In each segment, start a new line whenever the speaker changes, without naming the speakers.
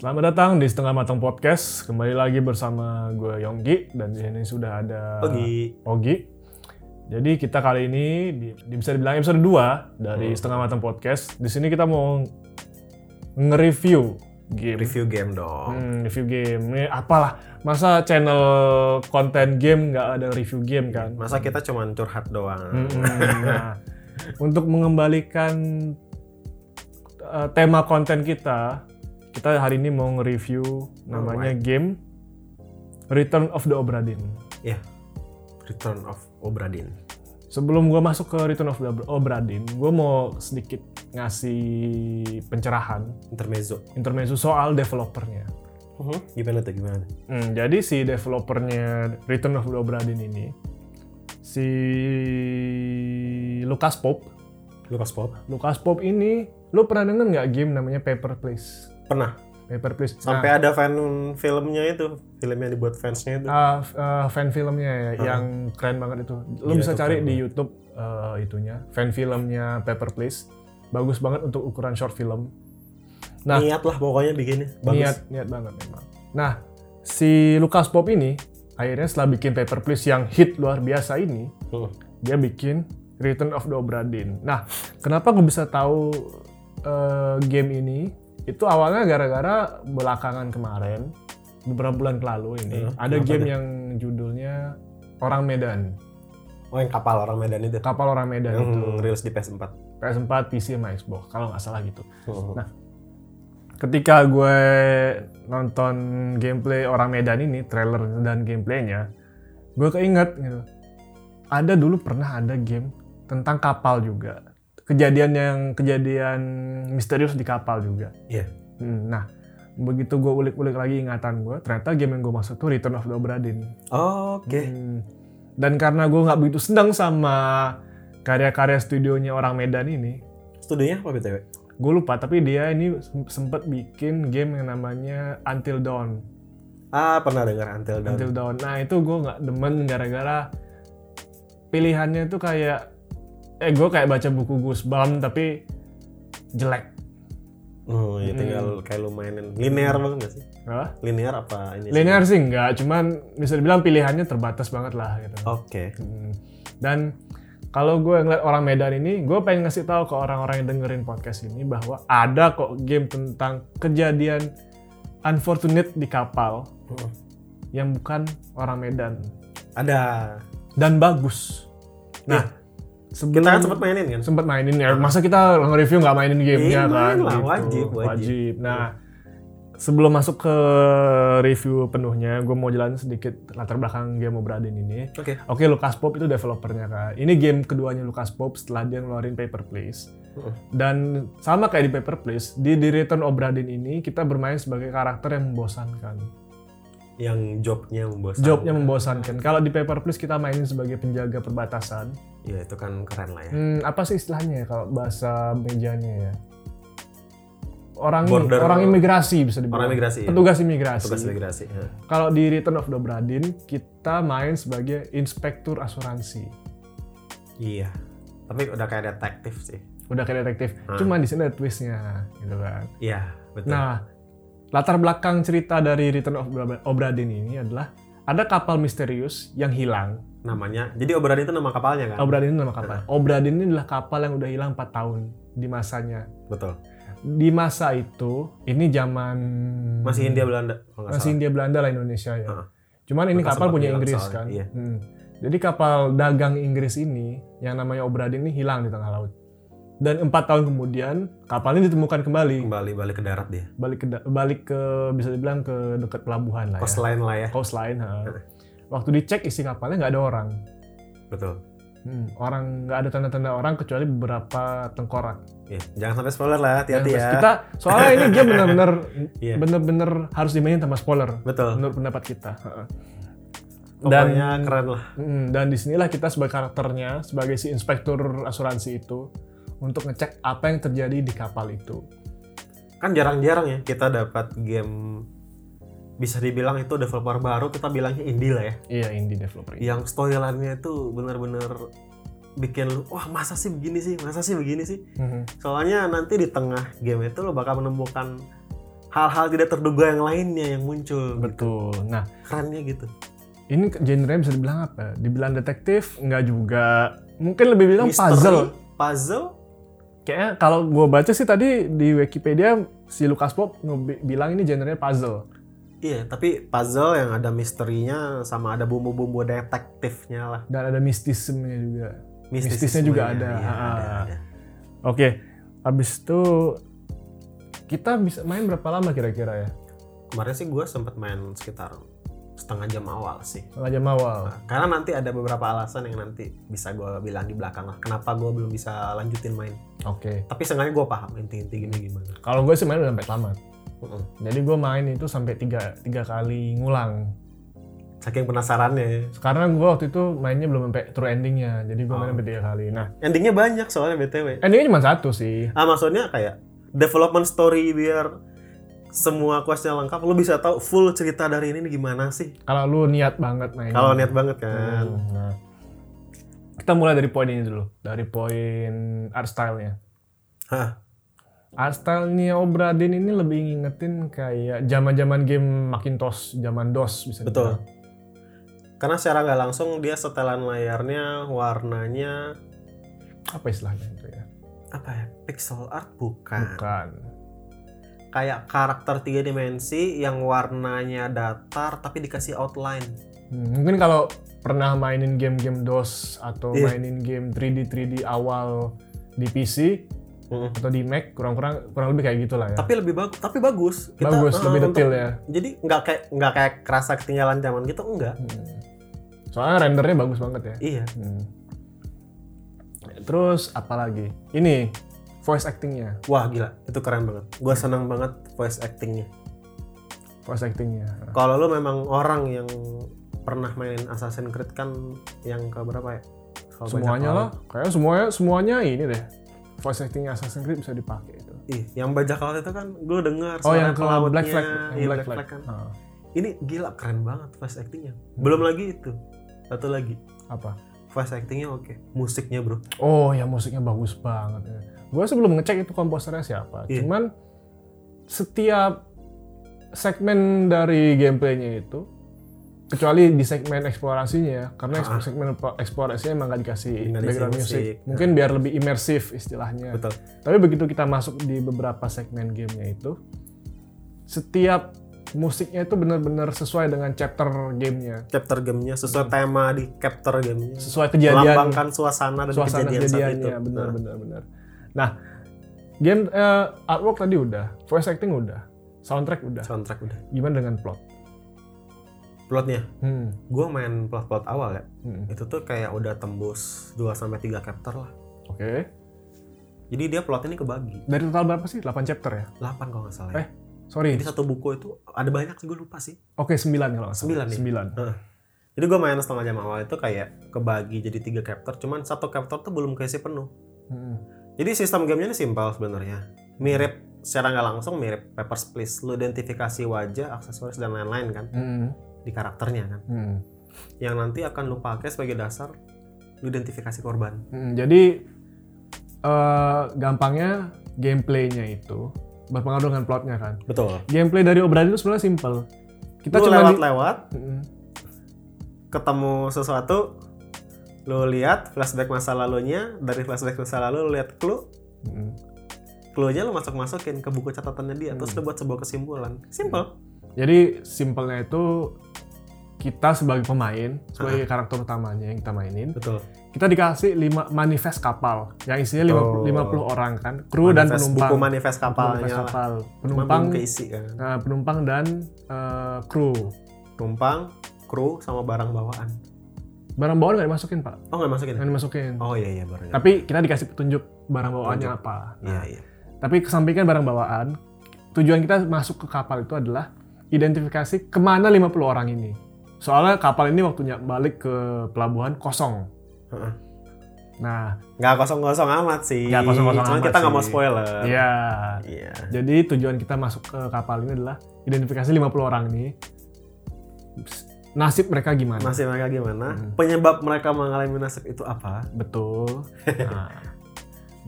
Selamat datang di Setengah Matang Podcast. Kembali lagi bersama gue Yonggi dan ini sudah ada
Ogi.
Ogi. Jadi kita kali ini di- di- bisa dibilang episode 2 dari
Hmm.
Setengah Matang Podcast. Di sini kita mau nge-review game.
Review game dong.
Hmm, review game. Ini apalah. Masa channel konten game nggak ada review game kan?
Masa kita cuman curhat doang.
Mm-mm. Nah, untuk mengembalikan uh, tema konten kita, kita hari ini mau nge-review namanya game Return of the Obra Dinn.
Ya. Return of Obra Dinn.
Sebelum gua masuk ke Return of the Obra- Obra Dinn, gue mau sedikit ngasih pencerahan
Intermezzo.
intermezzo soal developernya. Mm-hmm.
Gimana tuh gimana? tuh?
Hmm, jadi si developernya Return of the Obra Dinn ini, si Lucas Pope,
Lucas Pop.
Lucas Pop ini, lu pernah denger nggak game namanya Paper Please?
Pernah.
Paper Nah, Please.
Sampai ada fan filmnya itu, film yang dibuat fansnya
Ah.
itu.
fan filmnya ya,
Ah.
yang keren banget itu. Lu
Gila,
bisa
Iya, itu
cari
keren
di YouTube eh, itunya, fan filmnya Paper Please. Bagus banget untuk ukuran short film. Nah.
Niat lah pokoknya bikinnya. Bagus.
Niat, niat banget memang. Nah, si Lucas Pop ini akhirnya setelah bikin Paper Please yang hit luar biasa ini,
Hmm.
dia bikin Return of the Obra Dinn. Nah, kenapa gue bisa tahu eh, game ini? Itu awalnya gara-gara belakangan kemarin, beberapa bulan lalu ini,
Eh,
ada
kenapa
game
tuh?
yang judulnya Orang Medan,
Oh yang kapal orang Medan itu.
kapal orang Medan
Yang
itu,
rilis di PS4.
PS4, PC, sama Xbox, kalau nggak salah gitu.
Hmm.
Nah, ketika gue nonton gameplay orang Medan ini, trailer dan gameplaynya, gue keinget gitu. Ada dulu pernah ada game tentang kapal juga. Kejadian yang kejadian misterius di kapal juga.
Iya.
Hmm, Nah, begitu gue ulik-ulik lagi ingatan gue, ternyata game yang gue maksud tuh Return of the Obra Dinn.
Oke.
Hmm. Dan karena gue nggak begitu sedang sama karya-karya studionya orang Medan ini,
Studionya apa BTW?
gue lupa tapi dia ini sem- sempet bikin game yang namanya Until Dawn.
Ah, pernah dengar Until Dawn.
Until Dawn. Nah itu gue nggak demen gara-gara pilihannya itu kayak eh gue kayak baca buku Goosebumps tapi jelek.
Oh, ya tinggal
Hmm.
kayak lu mainin linear banget nggak sih?
Hah?
Linear apa ini? Iya sih?
Linear sih nggak, cuman bisa dibilang pilihannya terbatas banget lah gitu.
Oh. Oke.
Hmm. Dan kalau gue ngeliat orang Medan ini, gue pengen ngasih tahu ke orang-orang yang dengerin podcast ini bahwa ada kok game tentang kejadian unfortunate di kapal
Hmm.
yang bukan orang Medan
Ada
dan bagus. Nah,
Iya.
sebelum
Kita kan sempat mainin kan?
sempat mainin ya. Masa kita nge-review nggak mainin gamenya
Iya,
kan?
main lah, wajib, wajib.
Nah, sebelum masuk ke review penuhnya, gue mau jelasin sedikit latar belakang game Obra Dinn ini.
Oke.
Oke, Lucas Pop itu developernya kan. Ini game keduanya Lucas Pop setelah dia ngeluarin Paper Please.
Heeh.
Dan sama kayak di Paper Please, di, di Return Obra Dinn ini kita bermain sebagai karakter yang membosankan.
Yang jobnya membosankan.
Jobnya membosankan. Kalau di Paper Please kita mainin sebagai penjaga perbatasan.
Ya itu kan keren lah ya.
Hmm, apa sih istilahnya ya kalau bahasa mejanya ya? Orang
Border-
orang imigrasi bisa dibilang.
Orang imigrasi. ya?
Petugas imigrasi.
Tugas imigrasi. ya.
Kalau di Return of the Obra Dinn, kita main sebagai inspektur asuransi.
Iya. Tapi udah kayak detektif sih.
Udah kayak detektif.
Hmm.
Cuman di sini ada twistnya, gitu kan.
Iya, betul.
Nah, latar belakang cerita dari Return of Obra- Obra Dinn ini adalah ada kapal misterius yang hilang.
Namanya. Jadi Obra Dinn itu nama kapalnya kan?
Obra Dinn itu nama kapal. Obra Dinn ini adalah kapal yang udah hilang 4 tahun di masanya.
Betul.
Di masa itu, ini zaman
Masih India Belanda
Hmm.
kalau nggak
masih
salah.
India Belanda lah Indonesia ya.
Heeh.
Cuman ini
Mereka
kapal
sempat
punya
hilang
Inggris
soalnya,
kan.
iya.
Hmm. Jadi kapal dagang Inggris ini yang namanya Obra Dinn ini hilang di tengah laut. Dan empat tahun kemudian kapal ini ditemukan kembali,
Kembali balik ke darat dia.
balik ke da- balik ke bisa dibilang ke dekat pelabuhan lah ya.
Coastline lah ya.
Coastline. ha. Waktu dicek isi kapalnya nggak ada orang.
Betul.
Hmm, orang nggak ada tanda-tanda orang kecuali beberapa tengkorak.
Iya. Jangan sampai spoiler lah, hati-hati
Yang
ya.
Kita soalnya ini game benar-benar
Iya.
benar-benar harus dimainin tanpa spoiler
Betul.
menurut pendapat kita. Ha-ha. Dan
Pokoknya keren lah.
mm, dan disinilah kita sebagai karakternya sebagai si inspektur asuransi itu untuk ngecek apa yang terjadi di kapal itu.
Kan jarang-jarang ya kita dapat game bisa dibilang itu developer baru kita bilangnya indie lah ya.
Iya indie developer. ini.
yang storyline-nya itu bener-bener bikin lu wah masa sih begini sih masa sih begini sih
Mhm.
soalnya nanti di tengah game itu lo bakal menemukan hal-hal tidak terduga yang lainnya yang muncul
Betul. Nah,
kerennya gitu
ini genre bisa dibilang apa? Dibilang detektif nggak juga. Mungkin lebih bilang
Misteri,
puzzle.
puzzle
Kayaknya kalau gua baca sih tadi di Wikipedia si Lucas Pop ngebi- bilang ini genre puzzle.
iya tapi puzzle yang ada misterinya sama ada bumbu-bumbu detektifnya lah
Dan ada mistismenya juga. Mistisnya
Mistismenya,
juga ada.
iya,
Ah,
ada,
ah.
ada.
Oke, habis itu kita bisa main berapa lama kira-kira ya?
kemarin sih gue sempat main sekitar setengah jam awal sih
Setengah jam awal.
Nah, karena nanti ada beberapa alasan yang nanti bisa gue bilang di belakang lah kenapa gue belum bisa lanjutin main
Oke.
tapi seenggaknya gue paham inti-inti gini gimana
Kalau gue sih main udah sampai tamat.
Mm-mm.
Jadi gue main itu sampai tiga, tiga kali ngulang.
saking penasarannya ya.
Karena gue waktu itu mainnya belum sampai true endingnya. Jadi gue main
Oh.
sampai tiga kali. Nah,
endingnya banyak soalnya btw
endingnya cuma satu sih.
ah maksudnya kayak development story biar semua questnya lengkap lu bisa tahu full cerita dari ini nih gimana sih
Kalau lu niat banget main.
kalau niat banget kan
Hmm, Nah, kita mulai dari poin ini dulu. Dari poin art style-nya.
Hah,
Art style-nya Obradin ini lebih ngingetin kayak zaman-zaman game Macintosh, zaman DOS bisa
Betul.
dibilang.
Karena secara nggak langsung dia setelan layarnya, warnanya
Apa istilahnya itu ya?
apa ya? Pixel art bukan.
Bukan.
Kayak karakter tiga dimensi yang warnanya datar tapi dikasih outline.
Hmm, Mungkin kalau pernah mainin game-game DOS atau
Iya.
mainin game 3D 3D awal di PC atau di Mac kurang-kurang kurang lebih kayak gitulah ya.
Tapi lebih bagus, tapi bagus.
Bagus,
eh,
lebih
untuk-
detail ya.
Jadi nggak kayak nggak kayak kerasa ketinggalan zaman gitu enggak.
Hmm. Soalnya rendernya bagus banget ya.
Iya.
Hmm. Terus apalagi? Ini voice actingnya,
Wah gila, itu keren banget. Gua senang banget voice actingnya.
voice actingnya.
Kalau lu memang orang yang pernah main Assassin's Creed kan yang ke berapa ya? Kalau gua
Semuanya
ingat
lah, kayak semuanya semuanya ini deh. Voice acting Assassin's Creed bisa dipakai itu.
Ih, Iya, yang bajak laut itu kan gue dengar
Oh yang
suara
ke
pelautnya,
Black Flag,
iya,
yang Black
Black
Flag.
Flag kan.
Ah,
Ini gila keren banget voice actingnya. Belum lagi itu, satu lagi
apa?
voice actingnya oke, musiknya bro.
Oh ya musiknya bagus banget. ya. Gue sebelum ngecek itu komposernya siapa.
Iya.
Cuman setiap segmen dari gameplaynya itu, kecuali di segmen eksplorasinya, ya, karena eks-
Ah.
segmen po- eksplorasinya emang gak dikasih
Nggak dikasih
background
musik. Iya.
music. Mungkin biar lebih imersif istilahnya.
Betul.
Tapi begitu kita masuk di beberapa segmen gamenya itu, setiap musiknya itu benar-benar sesuai dengan chapter gamenya,
Chapter gamenya sesuai
Hmm.
tema di chapter gamenya.
sesuai kejadian
Melambangkan suasana dan
Iya, suasana
kejadian saat itu. Nah.
kejadiannya benar benar benar nah game eh, artwork tadi udah voice acting udah soundtrack
Nah,
udah
soundtrack udah.
gimana dengan plot
Plotnya,
hmm.
gue main plot-plot awal ya.
hmm,
Itu tuh kayak udah tembus 2 sampai tiga chapter lah.
oke
Jadi dia plot ini kebagi
dari total berapa sih 8 chapter ya
8 kalau nggak salah.
Eh.
ya.
sorry
Jadi satu buku itu ada banyak sih gue lupa sih.
oke 9 kalau nggak salah.
Sembilan ya?
Sembilan.
Jadi gue main setengah jam awal itu kayak kebagi jadi tiga chapter, cuman satu chapter tuh belum keisi penuh.
Hmm.
Jadi sistem gamenya ini simpel sebenarnya, mirip secara nggak langsung mirip Papers Please. Lu identifikasi wajah, aksesoris dan lain-lain kan
Hmm.
di karakternya kan,
Hmm.
yang nanti akan lu pakai sebagai dasar lu identifikasi korban.
Hmm, jadi eh, gampangnya gameplaynya itu berpengaruh dengan plotnya kan
Betul.
gameplay dari Obradin itu sebenarnya simple kita
lu
cuma di-
lewat-lewat,
Hmm.
ketemu sesuatu, lu lihat flashback masa lalunya, dari flashback masa lalu lu lihat clue,
Hmm.
clue-nya lu masuk-masukin ke buku catatannya dia, terus
Hmm.
lu buat sebuah kesimpulan. Simple.
Jadi simpelnya itu kita sebagai pemain, sebagai karakter utamanya yang kita mainin,
Betul.
kita dikasih lima manifest kapal yang isinya 50,
Betul.
50 orang kan, kru dan
Manifest-
penumpang.
buku manifest ya. kapalnya
Manifest
lah.
kapal,
Cuma
penumpang,
belum keisi kan
eh, penumpang dan eh, kru.
penumpang kru sama barang bawaan
Barang bawaan nggak dimasukin pak,
oh nggak masukin ya?
nggak dimasukin.
oh iya iya barangnya
Tapi kita dikasih petunjuk barang bawaannya apa.
iya
Nah,
iya
Tapi kesampingkan barang bawaan, tujuan kita masuk ke kapal itu adalah identifikasi kemana 50 orang ini. Soalnya kapal ini waktunya balik ke pelabuhan kosong.
Heeh.
Nah,
nggak kosong kosong amat sih
Nggak kosong-kosong
cuman
amat
kita nggak mau
sih.
spoiler
ya.
iya
Jadi tujuan kita masuk ke kapal ini adalah identifikasi 50 orang ini. Nasib mereka gimana?
nasib mereka gimana
Hmm.
penyebab mereka mengalami nasib itu apa
Betul. Nah,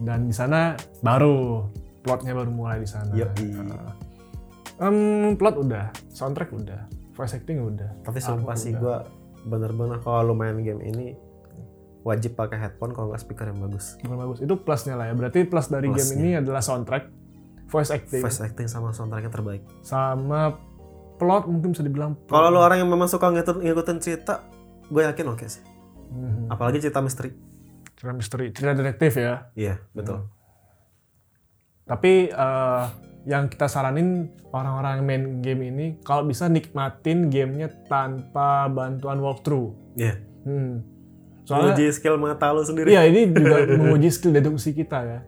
dan di sana baru plotnya baru mulai di sana.
Yoi.
Nah, Em, plot udah, soundtrack udah, voice acting udah.
Tapi
Aku
sumpah sih
udah.
gue bener-bener kalau lu main game ini wajib pakai headphone kalau nggak speaker yang bagus.
Bukan bagus. Itu plusnya lah ya. Berarti plus dari game
Plusnya.
ini adalah soundtrack, voice acting,
Voice acting sama soundtracknya terbaik.
Hmm. sama plot mungkin bisa dibilang. plot.
Kalau lu orang yang memang suka ngikutin, ngikutin cerita, gue yakin oke sih.
Mhm.
Apalagi cerita misteri.
cerita misteri, cerita detektif ya.
Iya betul.
Tapi eh, yang kita saranin orang-orang yang main game ini kalau bisa nikmatin gamenya tanpa bantuan walkthrough.
Iya.
Hmm. Soalnya
Uji skill mata lu sendiri.
iya ini juga menguji skill deduksi kita ya.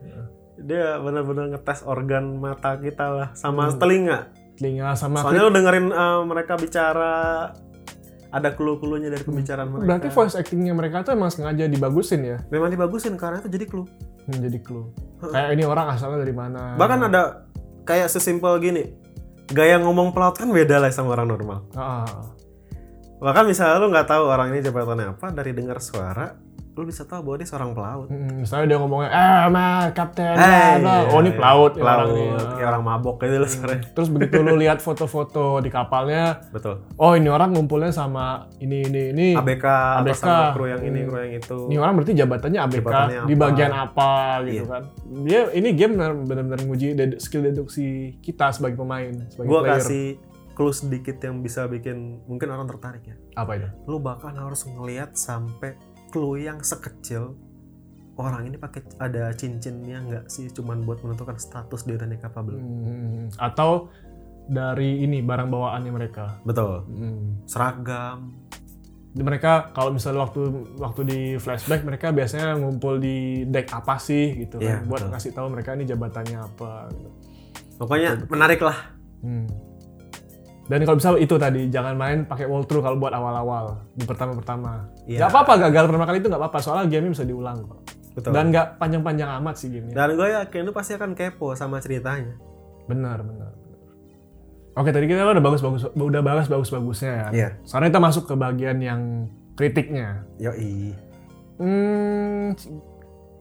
Dia bener-bener ngetes organ mata kita lah sama
Hmm.
telinga.
Telinga sama
Soalnya lu dengerin eh, mereka bicara ada clue-cluenya dari pembicaraan mereka.
Hmm. Berarti voice actingnya mereka tuh emang sengaja dibagusin ya
memang dibagusin karena itu jadi clue.
menjadi clue. Kayak ini orang asalnya dari mana?
Bahkan ada kayak sesimpel gini. Gaya ngomong pelaut kan beda lah sama orang normal.
Ah, ah, ah.
Bahkan misalnya lu nggak tahu orang ini jabatannya apa dari dengar suara, lu bisa tahu bahwa dia seorang pelaut.
Mm, misalnya dia ngomongnya, eh ma kapten, bla,
Eh,
bla."
gitu. iya,
oh ini
iya.
pelaut, ya
pelaut,
orang ini.
kayak orang mabok gitu lah suaranya.
Terus begitu lu lihat foto-foto di kapalnya,
Betul.
oh ini orang ngumpulnya sama ini ini ini.
ABK, atau
ABK.
sama kru yang ini, kru yang itu.
Ini orang berarti jabatannya ABK
Jabatannya
di
apa? Iya.
bagian apa gitu kan. Dia ini game benar- benar-benar nguji dedu- skill deduksi kita sebagai pemain, sebagai
Gua
player.
kasih clue sedikit yang bisa bikin mungkin orang tertarik ya.
Apa itu?
lu bahkan harus ngelihat sampai clue yang sekecil orang ini pakai ada cincinnya nggak sih cuman buat menentukan status dia udah nikah apa belum
Hmm, atau dari ini barang bawaannya mereka.
betul
Hmm.
seragam
Di Mereka kalau misalnya waktu waktu di flashback mereka biasanya ngumpul di deck apa sih gitu
Iya,
kan buat
betul.
ngasih tahu mereka ini jabatannya apa gitu.
pokoknya menarik lah
Hmm. Dan kalau bisa itu tadi jangan main pakai walkthrough kalau buat awal-awal di pertama-pertama.
Iya.
Nggak apa-apa gagal pertama kali itu nggak apa-apa soalnya gamenya bisa diulang kok. Dan
betul dan,
nggak panjang-panjang amat sih gamenya.
gue yakin lu pasti akan kepo sama ceritanya
Benar benar. Oke tadi kita udah bagus-bagus udah bagus bagus-bagusnya ya.
iya
Sekarang kita masuk ke bagian yang kritiknya.
yoi
Hmm,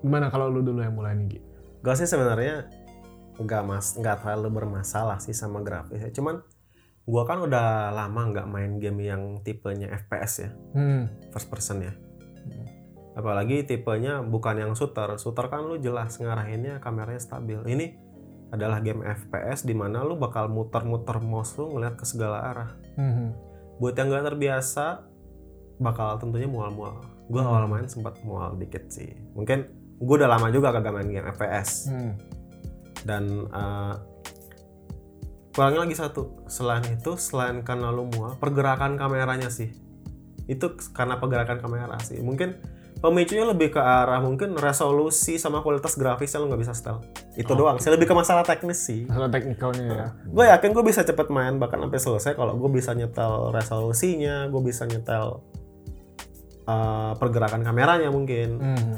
gimana kalau lu dulu yang mulai nih, Gi?
gue sih sebenarnya nggak mas nggak terlalu bermasalah sih sama grafisnya cuman gue kan udah lama nggak main game yang tipenya FPS ya
Hmm,
first person ya. Apalagi tipenya bukan yang shooter. Shooter kan lu jelas ngarahinnya kameranya stabil. Ini adalah game FPS di mana lu bakal muter-muter mouse lu ngeliat ke segala arah.
hmm,
Buat yang gak terbiasa bakal tentunya mual-mual. Gue
Hmm.
awal main sempat mual dikit sih. Mungkin gue udah lama juga kagak main game FPS
hmm.
dan eh, kurangnya lagi satu selain itu selain karena lu mual pergerakan kameranya sih itu karena pergerakan kamera sih mungkin pemicunya lebih ke arah mungkin resolusi sama kualitas grafisnya lu nggak bisa setel itu
Oke.
doang sih lebih ke masalah teknis sih
Masalah teknikalnya ya.
gue yakin gue bisa cepet main bahkan sampai selesai kalau gue bisa nyetel resolusinya gue bisa nyetel eh, pergerakan kameranya mungkin
Hmm.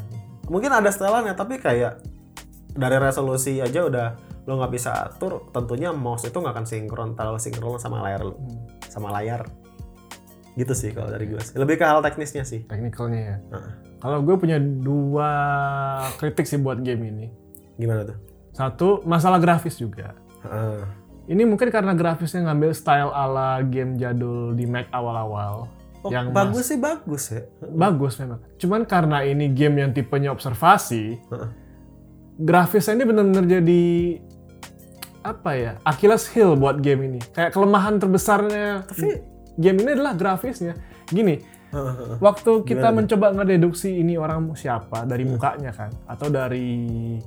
mungkin ada setelannya tapi kayak dari resolusi aja udah lo nggak bisa atur tentunya mouse itu nggak akan sinkron terlalu sinkron sama layar lu-
hmm.
sama layar gitu sih kalau dari gue sih. lebih ke hal teknisnya sih
Teknikalnya ya.
Heeh.
Kalau gue punya dua kritik sih buat game ini.
gimana tuh
Satu, masalah grafis juga.
Heeh.
Ini mungkin karena grafisnya ngambil style ala game jadul di Mac awal-awal.
oh,
Yang
bagus sih bagus ya
Bagus memang. Cuman karena ini game yang tipenya observasi,
Heeh.
grafisnya ini benar-benar jadi apa ya Achilles heel buat game ini kayak kelemahan terbesarnya
Tapi-
game ini adalah grafisnya gini
Heeh, heeh.
waktu kita
Gimana tuh? Hmm.
mencoba ngededuksi ini orang siapa dari mukanya kan atau dari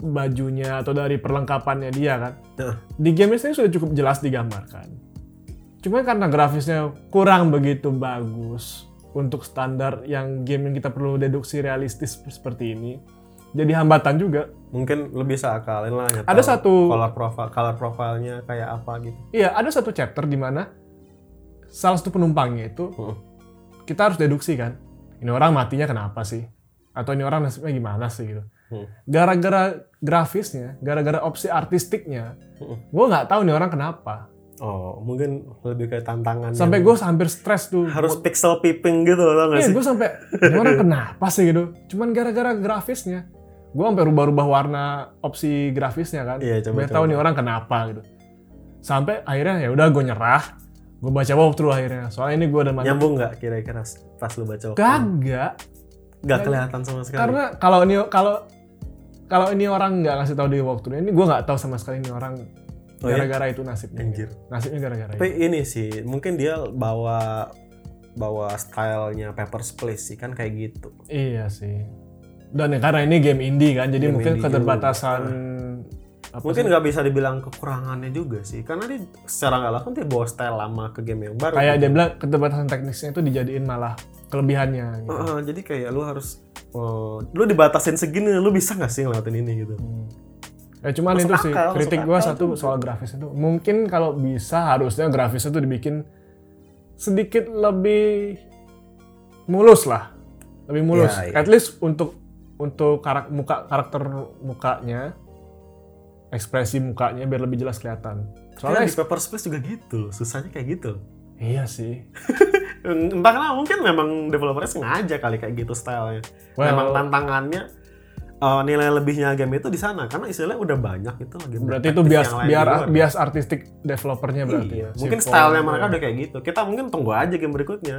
bajunya atau dari perlengkapannya dia kan
Heeh.
di game ini sudah cukup jelas digambarkan cuma karena grafisnya kurang begitu bagus untuk standar yang game yang kita perlu deduksi realistis seperti ini jadi hambatan juga
mungkin lebih bisa akalin lah nyetel
Ada satu-
color profile color profilnya kayak apa gitu
Iya, ada satu chapter di mana salah satu penumpangnya itu
Heeh.
kita harus deduksi kan, ini orang matinya kenapa sih? Atau ini orang nasibnya gimana sih gitu.
Hmm.
Gara-gara grafisnya, gara-gara opsi artistiknya,
Heeh.
gue nggak tahu nih orang kenapa.
oh mungkin lebih kayak tantangan
Sampai
yang
gue hampir stres tuh.
harus pixel peeping gitu loh nggak
Iya,
sih
gue sampai ini orang kenapa sih gitu? Cuman gara-gara grafisnya. Gue sampai rubah-rubah warna opsi grafisnya kan.
Iya, coba-
Biar tahu
coba.
nih orang kenapa gitu. sampai akhirnya ya udah gue nyerah gue baca walkthrough akhirnya soalnya ini gue udah mati
Nyambung nggak kira-kira pas lu baca waktu?
kagak
Nggak kelihatan sama sekali.
karena kalau ini kalau kalau ini orang nggak kasih tahu di walkthrough ini gue nggak tahu sama sekali ini orang
Oh, iya?
gara-gara itu nasibnya
Anjir.
nasibnya gara-gara itu
Tapi ini sih, mungkin dia bawa bawa stylenya Papers, Please sih kan kayak gitu.
iya sih dan ya, karena ini game indie kan jadi
Game
mungkin
indie Ah.
keterbatasan apa
Mungkin
sih?
nggak bisa dibilang kekurangannya juga sih, karena dia secara nggak langsung dia bawa style lama ke game yang baru.
kayak dia bilang keterbatasan teknisnya itu dijadiin malah kelebihannya gitu.
Heeh, jadi kayak lu harus, oh, lu dibatasin segini, lu bisa nggak sih ngeliatin ini gitu?
Ya cuman
Masuk
itu sih
akal, masuk
kritik gua
akal
satu soal grafis itu. Mungkin kalau bisa harusnya grafis itu dibikin sedikit lebih mulus lah. Lebih mulus.
Ya, ya.
At least untuk untuk karak, muka karakter mukanya ekspresi mukanya biar lebih jelas kelihatan.
Soalnya
Soalnya
di Papers, Please juga gitu, susahnya kayak gitu.
iya sih.
Entah kenapa mungkin memang developernya sengaja kali kayak gitu stylenya.
Well,
memang tantangannya eh, nilai lebihnya game itu di sana karena istilahnya udah banyak gitu itu lagi.
berarti itu bias biar bias artistik developernya berarti ya. Si
kan. Iya, Mungkin
Paul
stylenya
itu
mereka
ya.
udah kayak gitu. Kita mungkin tunggu aja game berikutnya.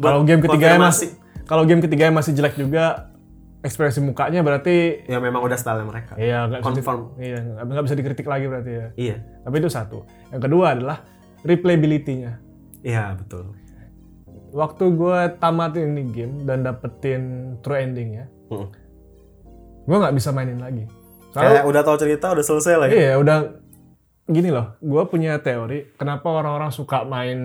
Buat
Kalau game ketiganya
konfirmasi.
masih kalau game ketiganya masih jelek juga ekspresi mukanya berarti
ya memang udah style mereka.
Iya, nggak bisa,
Confirm.
di- iya, nggak- nggak bisa dikritik lagi berarti ya.
Iya.
Tapi itu satu. Yang kedua adalah replayability-nya.
Iya, betul.
Waktu gue tamatin ini game dan dapetin true ending ya,
Mm.
gue nggak bisa mainin lagi. Soalnya
Kayak udah tahu cerita, udah selesai lah ya.
iya udah gini loh, gue punya teori kenapa orang-orang suka main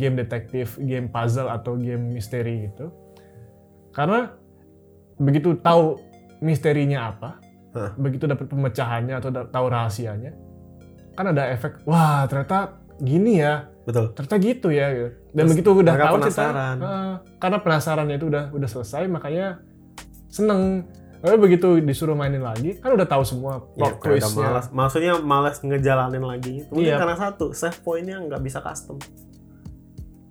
game detektif, game puzzle atau game misteri gitu. Karena begitu tahu misterinya apa,
Hah.
begitu dapat pemecahannya atau da- tahu rahasianya, kan ada efek, wah ternyata gini ya,
Betul.
ternyata gitu ya. Gitu. Dan
Terus
begitu udah
mereka
tahu
penasaran.
cerita, eh, karena penasarannya itu udah udah selesai, makanya seneng. Tapi begitu disuruh mainin lagi, kan udah tahu semua
Ya,
plot
kayak udah
twistnya.
malas. Maksudnya malas ngejalanin lagi. Mungkin
Iya.
karena satu, save pointnya nggak bisa custom.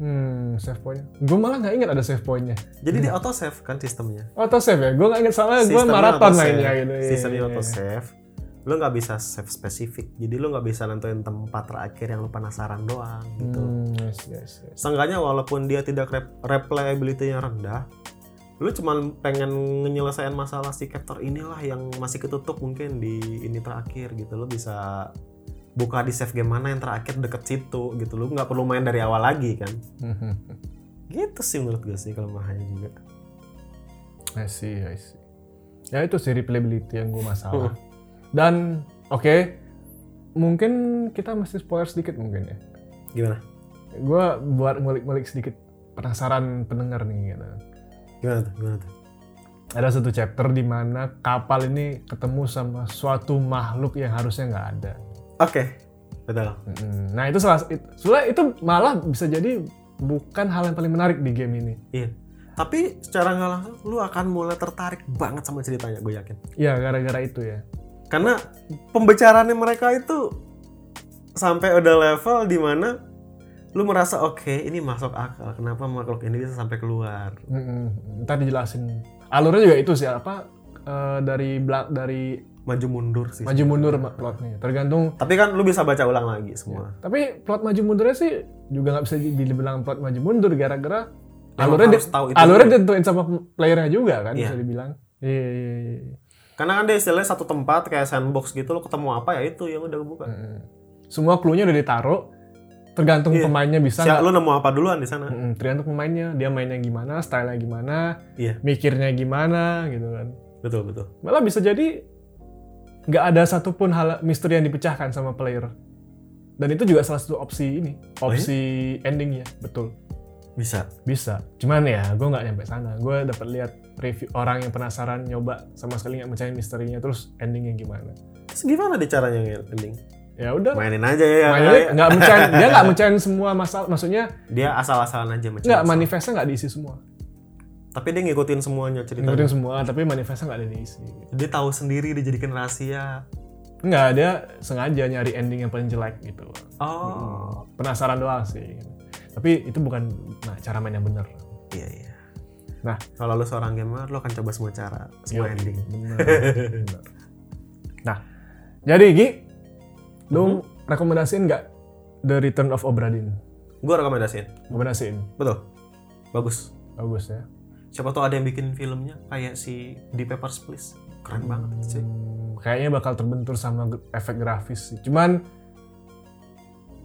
Hmm, save point. Gue malah nggak ingat ada save pointnya.
Jadi
Iya.
di auto save kan sistemnya.
Auto save ya? Gue nggak ingat soalnya gue
Sistemnya
maraton
auto-save.
mainnya gitu. Iya,
Sistemnya
iya,
auto
iya.
save. Lu nggak bisa save spesifik. Jadi lu nggak bisa nentuin tempat terakhir yang lu penasaran doang gitu.
Hmm, yes, yes, yes.
Seenggaknya walaupun dia tidak rep- replayability-nya rendah, lu cuman pengen menyelesaikan masalah si captor inilah yang masih ketutup mungkin di ini terakhir gitu. Lu bisa buka di save game mana yang terakhir deket situ gitu. Lu nggak perlu main dari awal lagi kan.
Mhm.
Gitu sih menurut gue sih kelemahannya juga.
I see, I see. Ya itu sih replayability yang gue
Hmm.
masalah. Dan oke, mungkin kita mesti spoiler sedikit mungkin ya.
Gimana?
Gue buat ngulik-ngulik sedikit penasaran pendengar nih gitu.
Gimana tuh? Gimana tuh?
Ada satu chapter di mana kapal ini ketemu sama suatu makhluk yang harusnya nggak ada.
Oke. Betul.
Mm, Nah itu salah, itu, sebenarnya itu malah bisa jadi bukan hal yang paling menarik di game ini.
Iya. Tapi secara nggak langsung lu akan mulai tertarik banget sama ceritanya, gue yakin.
Ya gara-gara itu ya.
Karena pembicaraannya mereka itu sampai udah level di mana lu merasa oke, ini masuk akal. Kenapa makhluk ini bisa sampai keluar?
Mm-mm. Ntar dijelasin. Alurnya juga itu sih apa eh, dari belak dari
Maju mundur sih.
maju mundur ma- plotnya. Tergantung.
Tapi kan lu bisa baca ulang lagi semua.
Tapi plot maju mundurnya sih juga nggak bisa di- dibilang plot maju mundur gara-gara
Emang
alurnya
harus tahu itu
alurnya
dulu.
ditentuin sama playernya juga kan
Iya.
bisa dibilang. Iya iya iya. iya.
Karena kan dia istilahnya satu tempat kayak sandbox gitu, lu ketemu apa ya itu yang udah lu buka.
Mm-mm. Semua clue-nya udah ditaruh. Tergantung
Iya.
pemainnya bisa nggak.
Siap lu nemu apa duluan di sana?
Mm-mm. Tergantung pemainnya. Dia mainnya gimana, stylenya gimana,
Iya.
mikirnya gimana gitu kan.
Betul, betul.
malah bisa jadi nggak ada satupun hal misteri yang dipecahkan sama player dan itu juga salah satu opsi ini
Oh, iya?
opsi endingnya betul
Bisa.
bisa cuman ya gue nggak nyampe sana gue dapat lihat review orang yang penasaran nyoba sama sekali nggak mecahin misterinya terus endingnya gimana
Terus gimana deh caranya ending?
ya udah
Mainin aja ya.
mainnya nggak mecahin dia nggak mecahin semua masalah maksudnya
dia asal-asalan aja mencari
nggak
masalah.
manifestnya nggak diisi semua
tapi dia ngikutin semuanya cerita
ngikutin semua tapi manifestnya nggak ada yang diisi
dia tahu sendiri dijadikan rahasia
nggak dia sengaja nyari ending yang paling jelek gitu
oh
penasaran doang sih tapi itu bukan nah, cara main yang benar
iya iya
Nah.
kalau lu seorang gamer lu akan coba semua cara
Yoi,
semua ending Mhm.
benar, benar. nah jadi Gi lu rekomendasiin nggak The Return of Obra Dinn?
Gue rekomendasiin.
Rekomendasiin.
Betul. Bagus.
Bagus ya.
Siapa tau ada yang bikin filmnya kayak si di Papers Please. Keren banget itu sih.
Hmm, kayaknya bakal terbentur sama ge- efek grafis sih. Cuman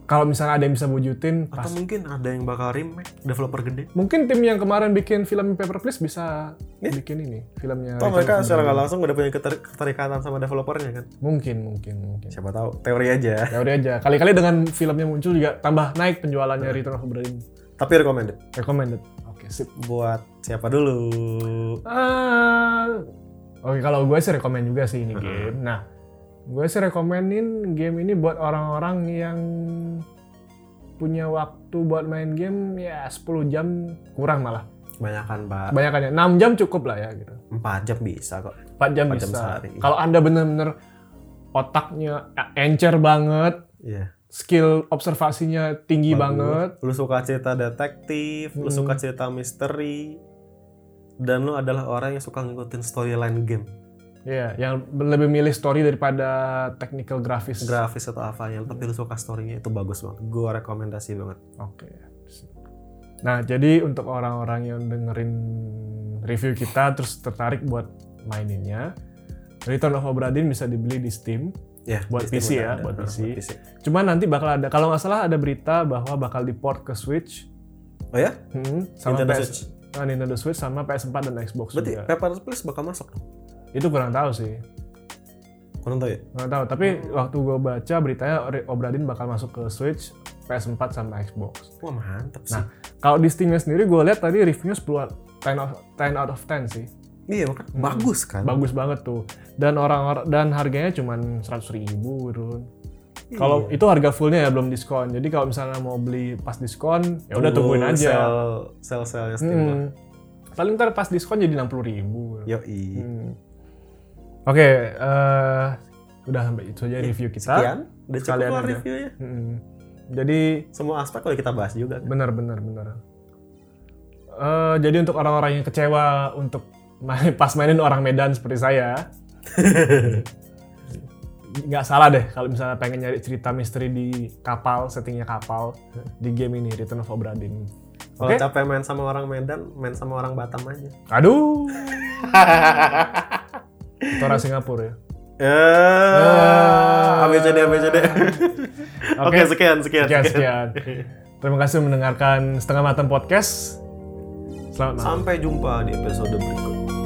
kalau misalnya ada yang bisa wujudin, pas.
Atau mungkin ada yang bakal remake developer gede.
Mungkin tim yang kemarin bikin film Paper Please bisa
Iya.
bikin ini filmnya. Return
Atau mereka
of Obra
secara nggak
Dinn.
langsung udah punya keter- keterikatan sama developernya kan.
Mungkin, mungkin, mungkin.
Siapa tahu teori aja.
Teori aja. Kali-kali dengan filmnya muncul juga tambah naik penjualannya Return of Obra Dinn.
Tapi Nah. recommended
Recommended. Oke, sip.
buat siapa dulu?
Ah, Oke, kalau gue sih rekomen juga sih ini
Mhm.
game. Nah, gue sih rekomenin game ini buat orang-orang yang punya waktu buat main game ya 10 jam kurang malah.
Kebanyakan pak.
Kebanyakan ya, 6 jam cukup lah ya gitu.
4 kan, jam bisa kok.
4 jam
4 jam
bisa.
sehari.
Kalau Anda bener-bener otaknya encer banget,
Iya.
skill observasinya tinggi
Bagus.
banget,
Lu suka cerita detektif, lu
Hmm.
suka cerita misteri, dan lu adalah orang yang suka ngikutin storyline game,
ya yang lebih milih story daripada technical grafis.
grafis atau apanya, tapi lu suka storynya itu bagus banget. Gua rekomendasi banget.
Oke. Nah, jadi untuk orang-orang yang dengerin review kita terus tertarik buat maininnya, Return of Obra Dinn bisa dibeli di Steam.
Ya,
Buat
di Steam
PC ya,
udah ada.
buat PC.
PC.
Cuman nanti bakal ada, kalau nggak salah ada berita bahwa bakal diport ke Switch,
Oh ya?
hmm, sama
Nintendo
PS,
Switch.
ah, Nintendo Switch sama PS4 dan Xbox
Berarti
juga.
Paper Please bakal masuk dong.
Itu kurang tahu sih,
Kurang tahu ya?
kurang tahu. Tapi waktu gue baca beritanya Re- Obra Dinn bakal masuk ke Switch, PS4 sama Xbox.
Wah, mantep sih.
Nah, kalau di Steamnya sendiri gue lihat tadi reviewnya 10 10 out- 10 out of 10 sih.
iya, makanya bagus kan?
Hmm. bagus banget tuh dan orang dan harganya cuman seratus ribu gitu.
Iya.
kalau itu harga fullnya ya belum diskon jadi kalau misalnya mau beli pas diskon ya udah tungguin aja
Sel selnya Steam. lah.
Hmm. paling ntar pas diskon jadi enam puluh ribu gitu.
Yoi.
Hmm. oke eh, udah sampai itu aja review kita
Sekian, udah cukup
Sekalian
lah
aja.
reviewnya.
Hmm. jadi
Semua aspek udah kita bahas juga.
Benar, benar, benar. Eh, jadi untuk orang-orang yang kecewa untuk main, pas mainin orang Medan seperti saya, nggak salah deh kalau misalnya pengen nyari cerita misteri di kapal, settingnya kapal di game ini Return of Obra Dinn.
Kalau
Oke.
capek main sama orang Medan, main sama orang Batam aja.
Aduh. Itu orang Singapura ya.
Eh, ABCD ABCD.
Oke.
Oke, sekian sekian.
Sekian,
sekian.
sekian. Terima kasih mendengarkan Setengah Matang Podcast. Selamat malam.
Sampai jumpa di episode berikutnya.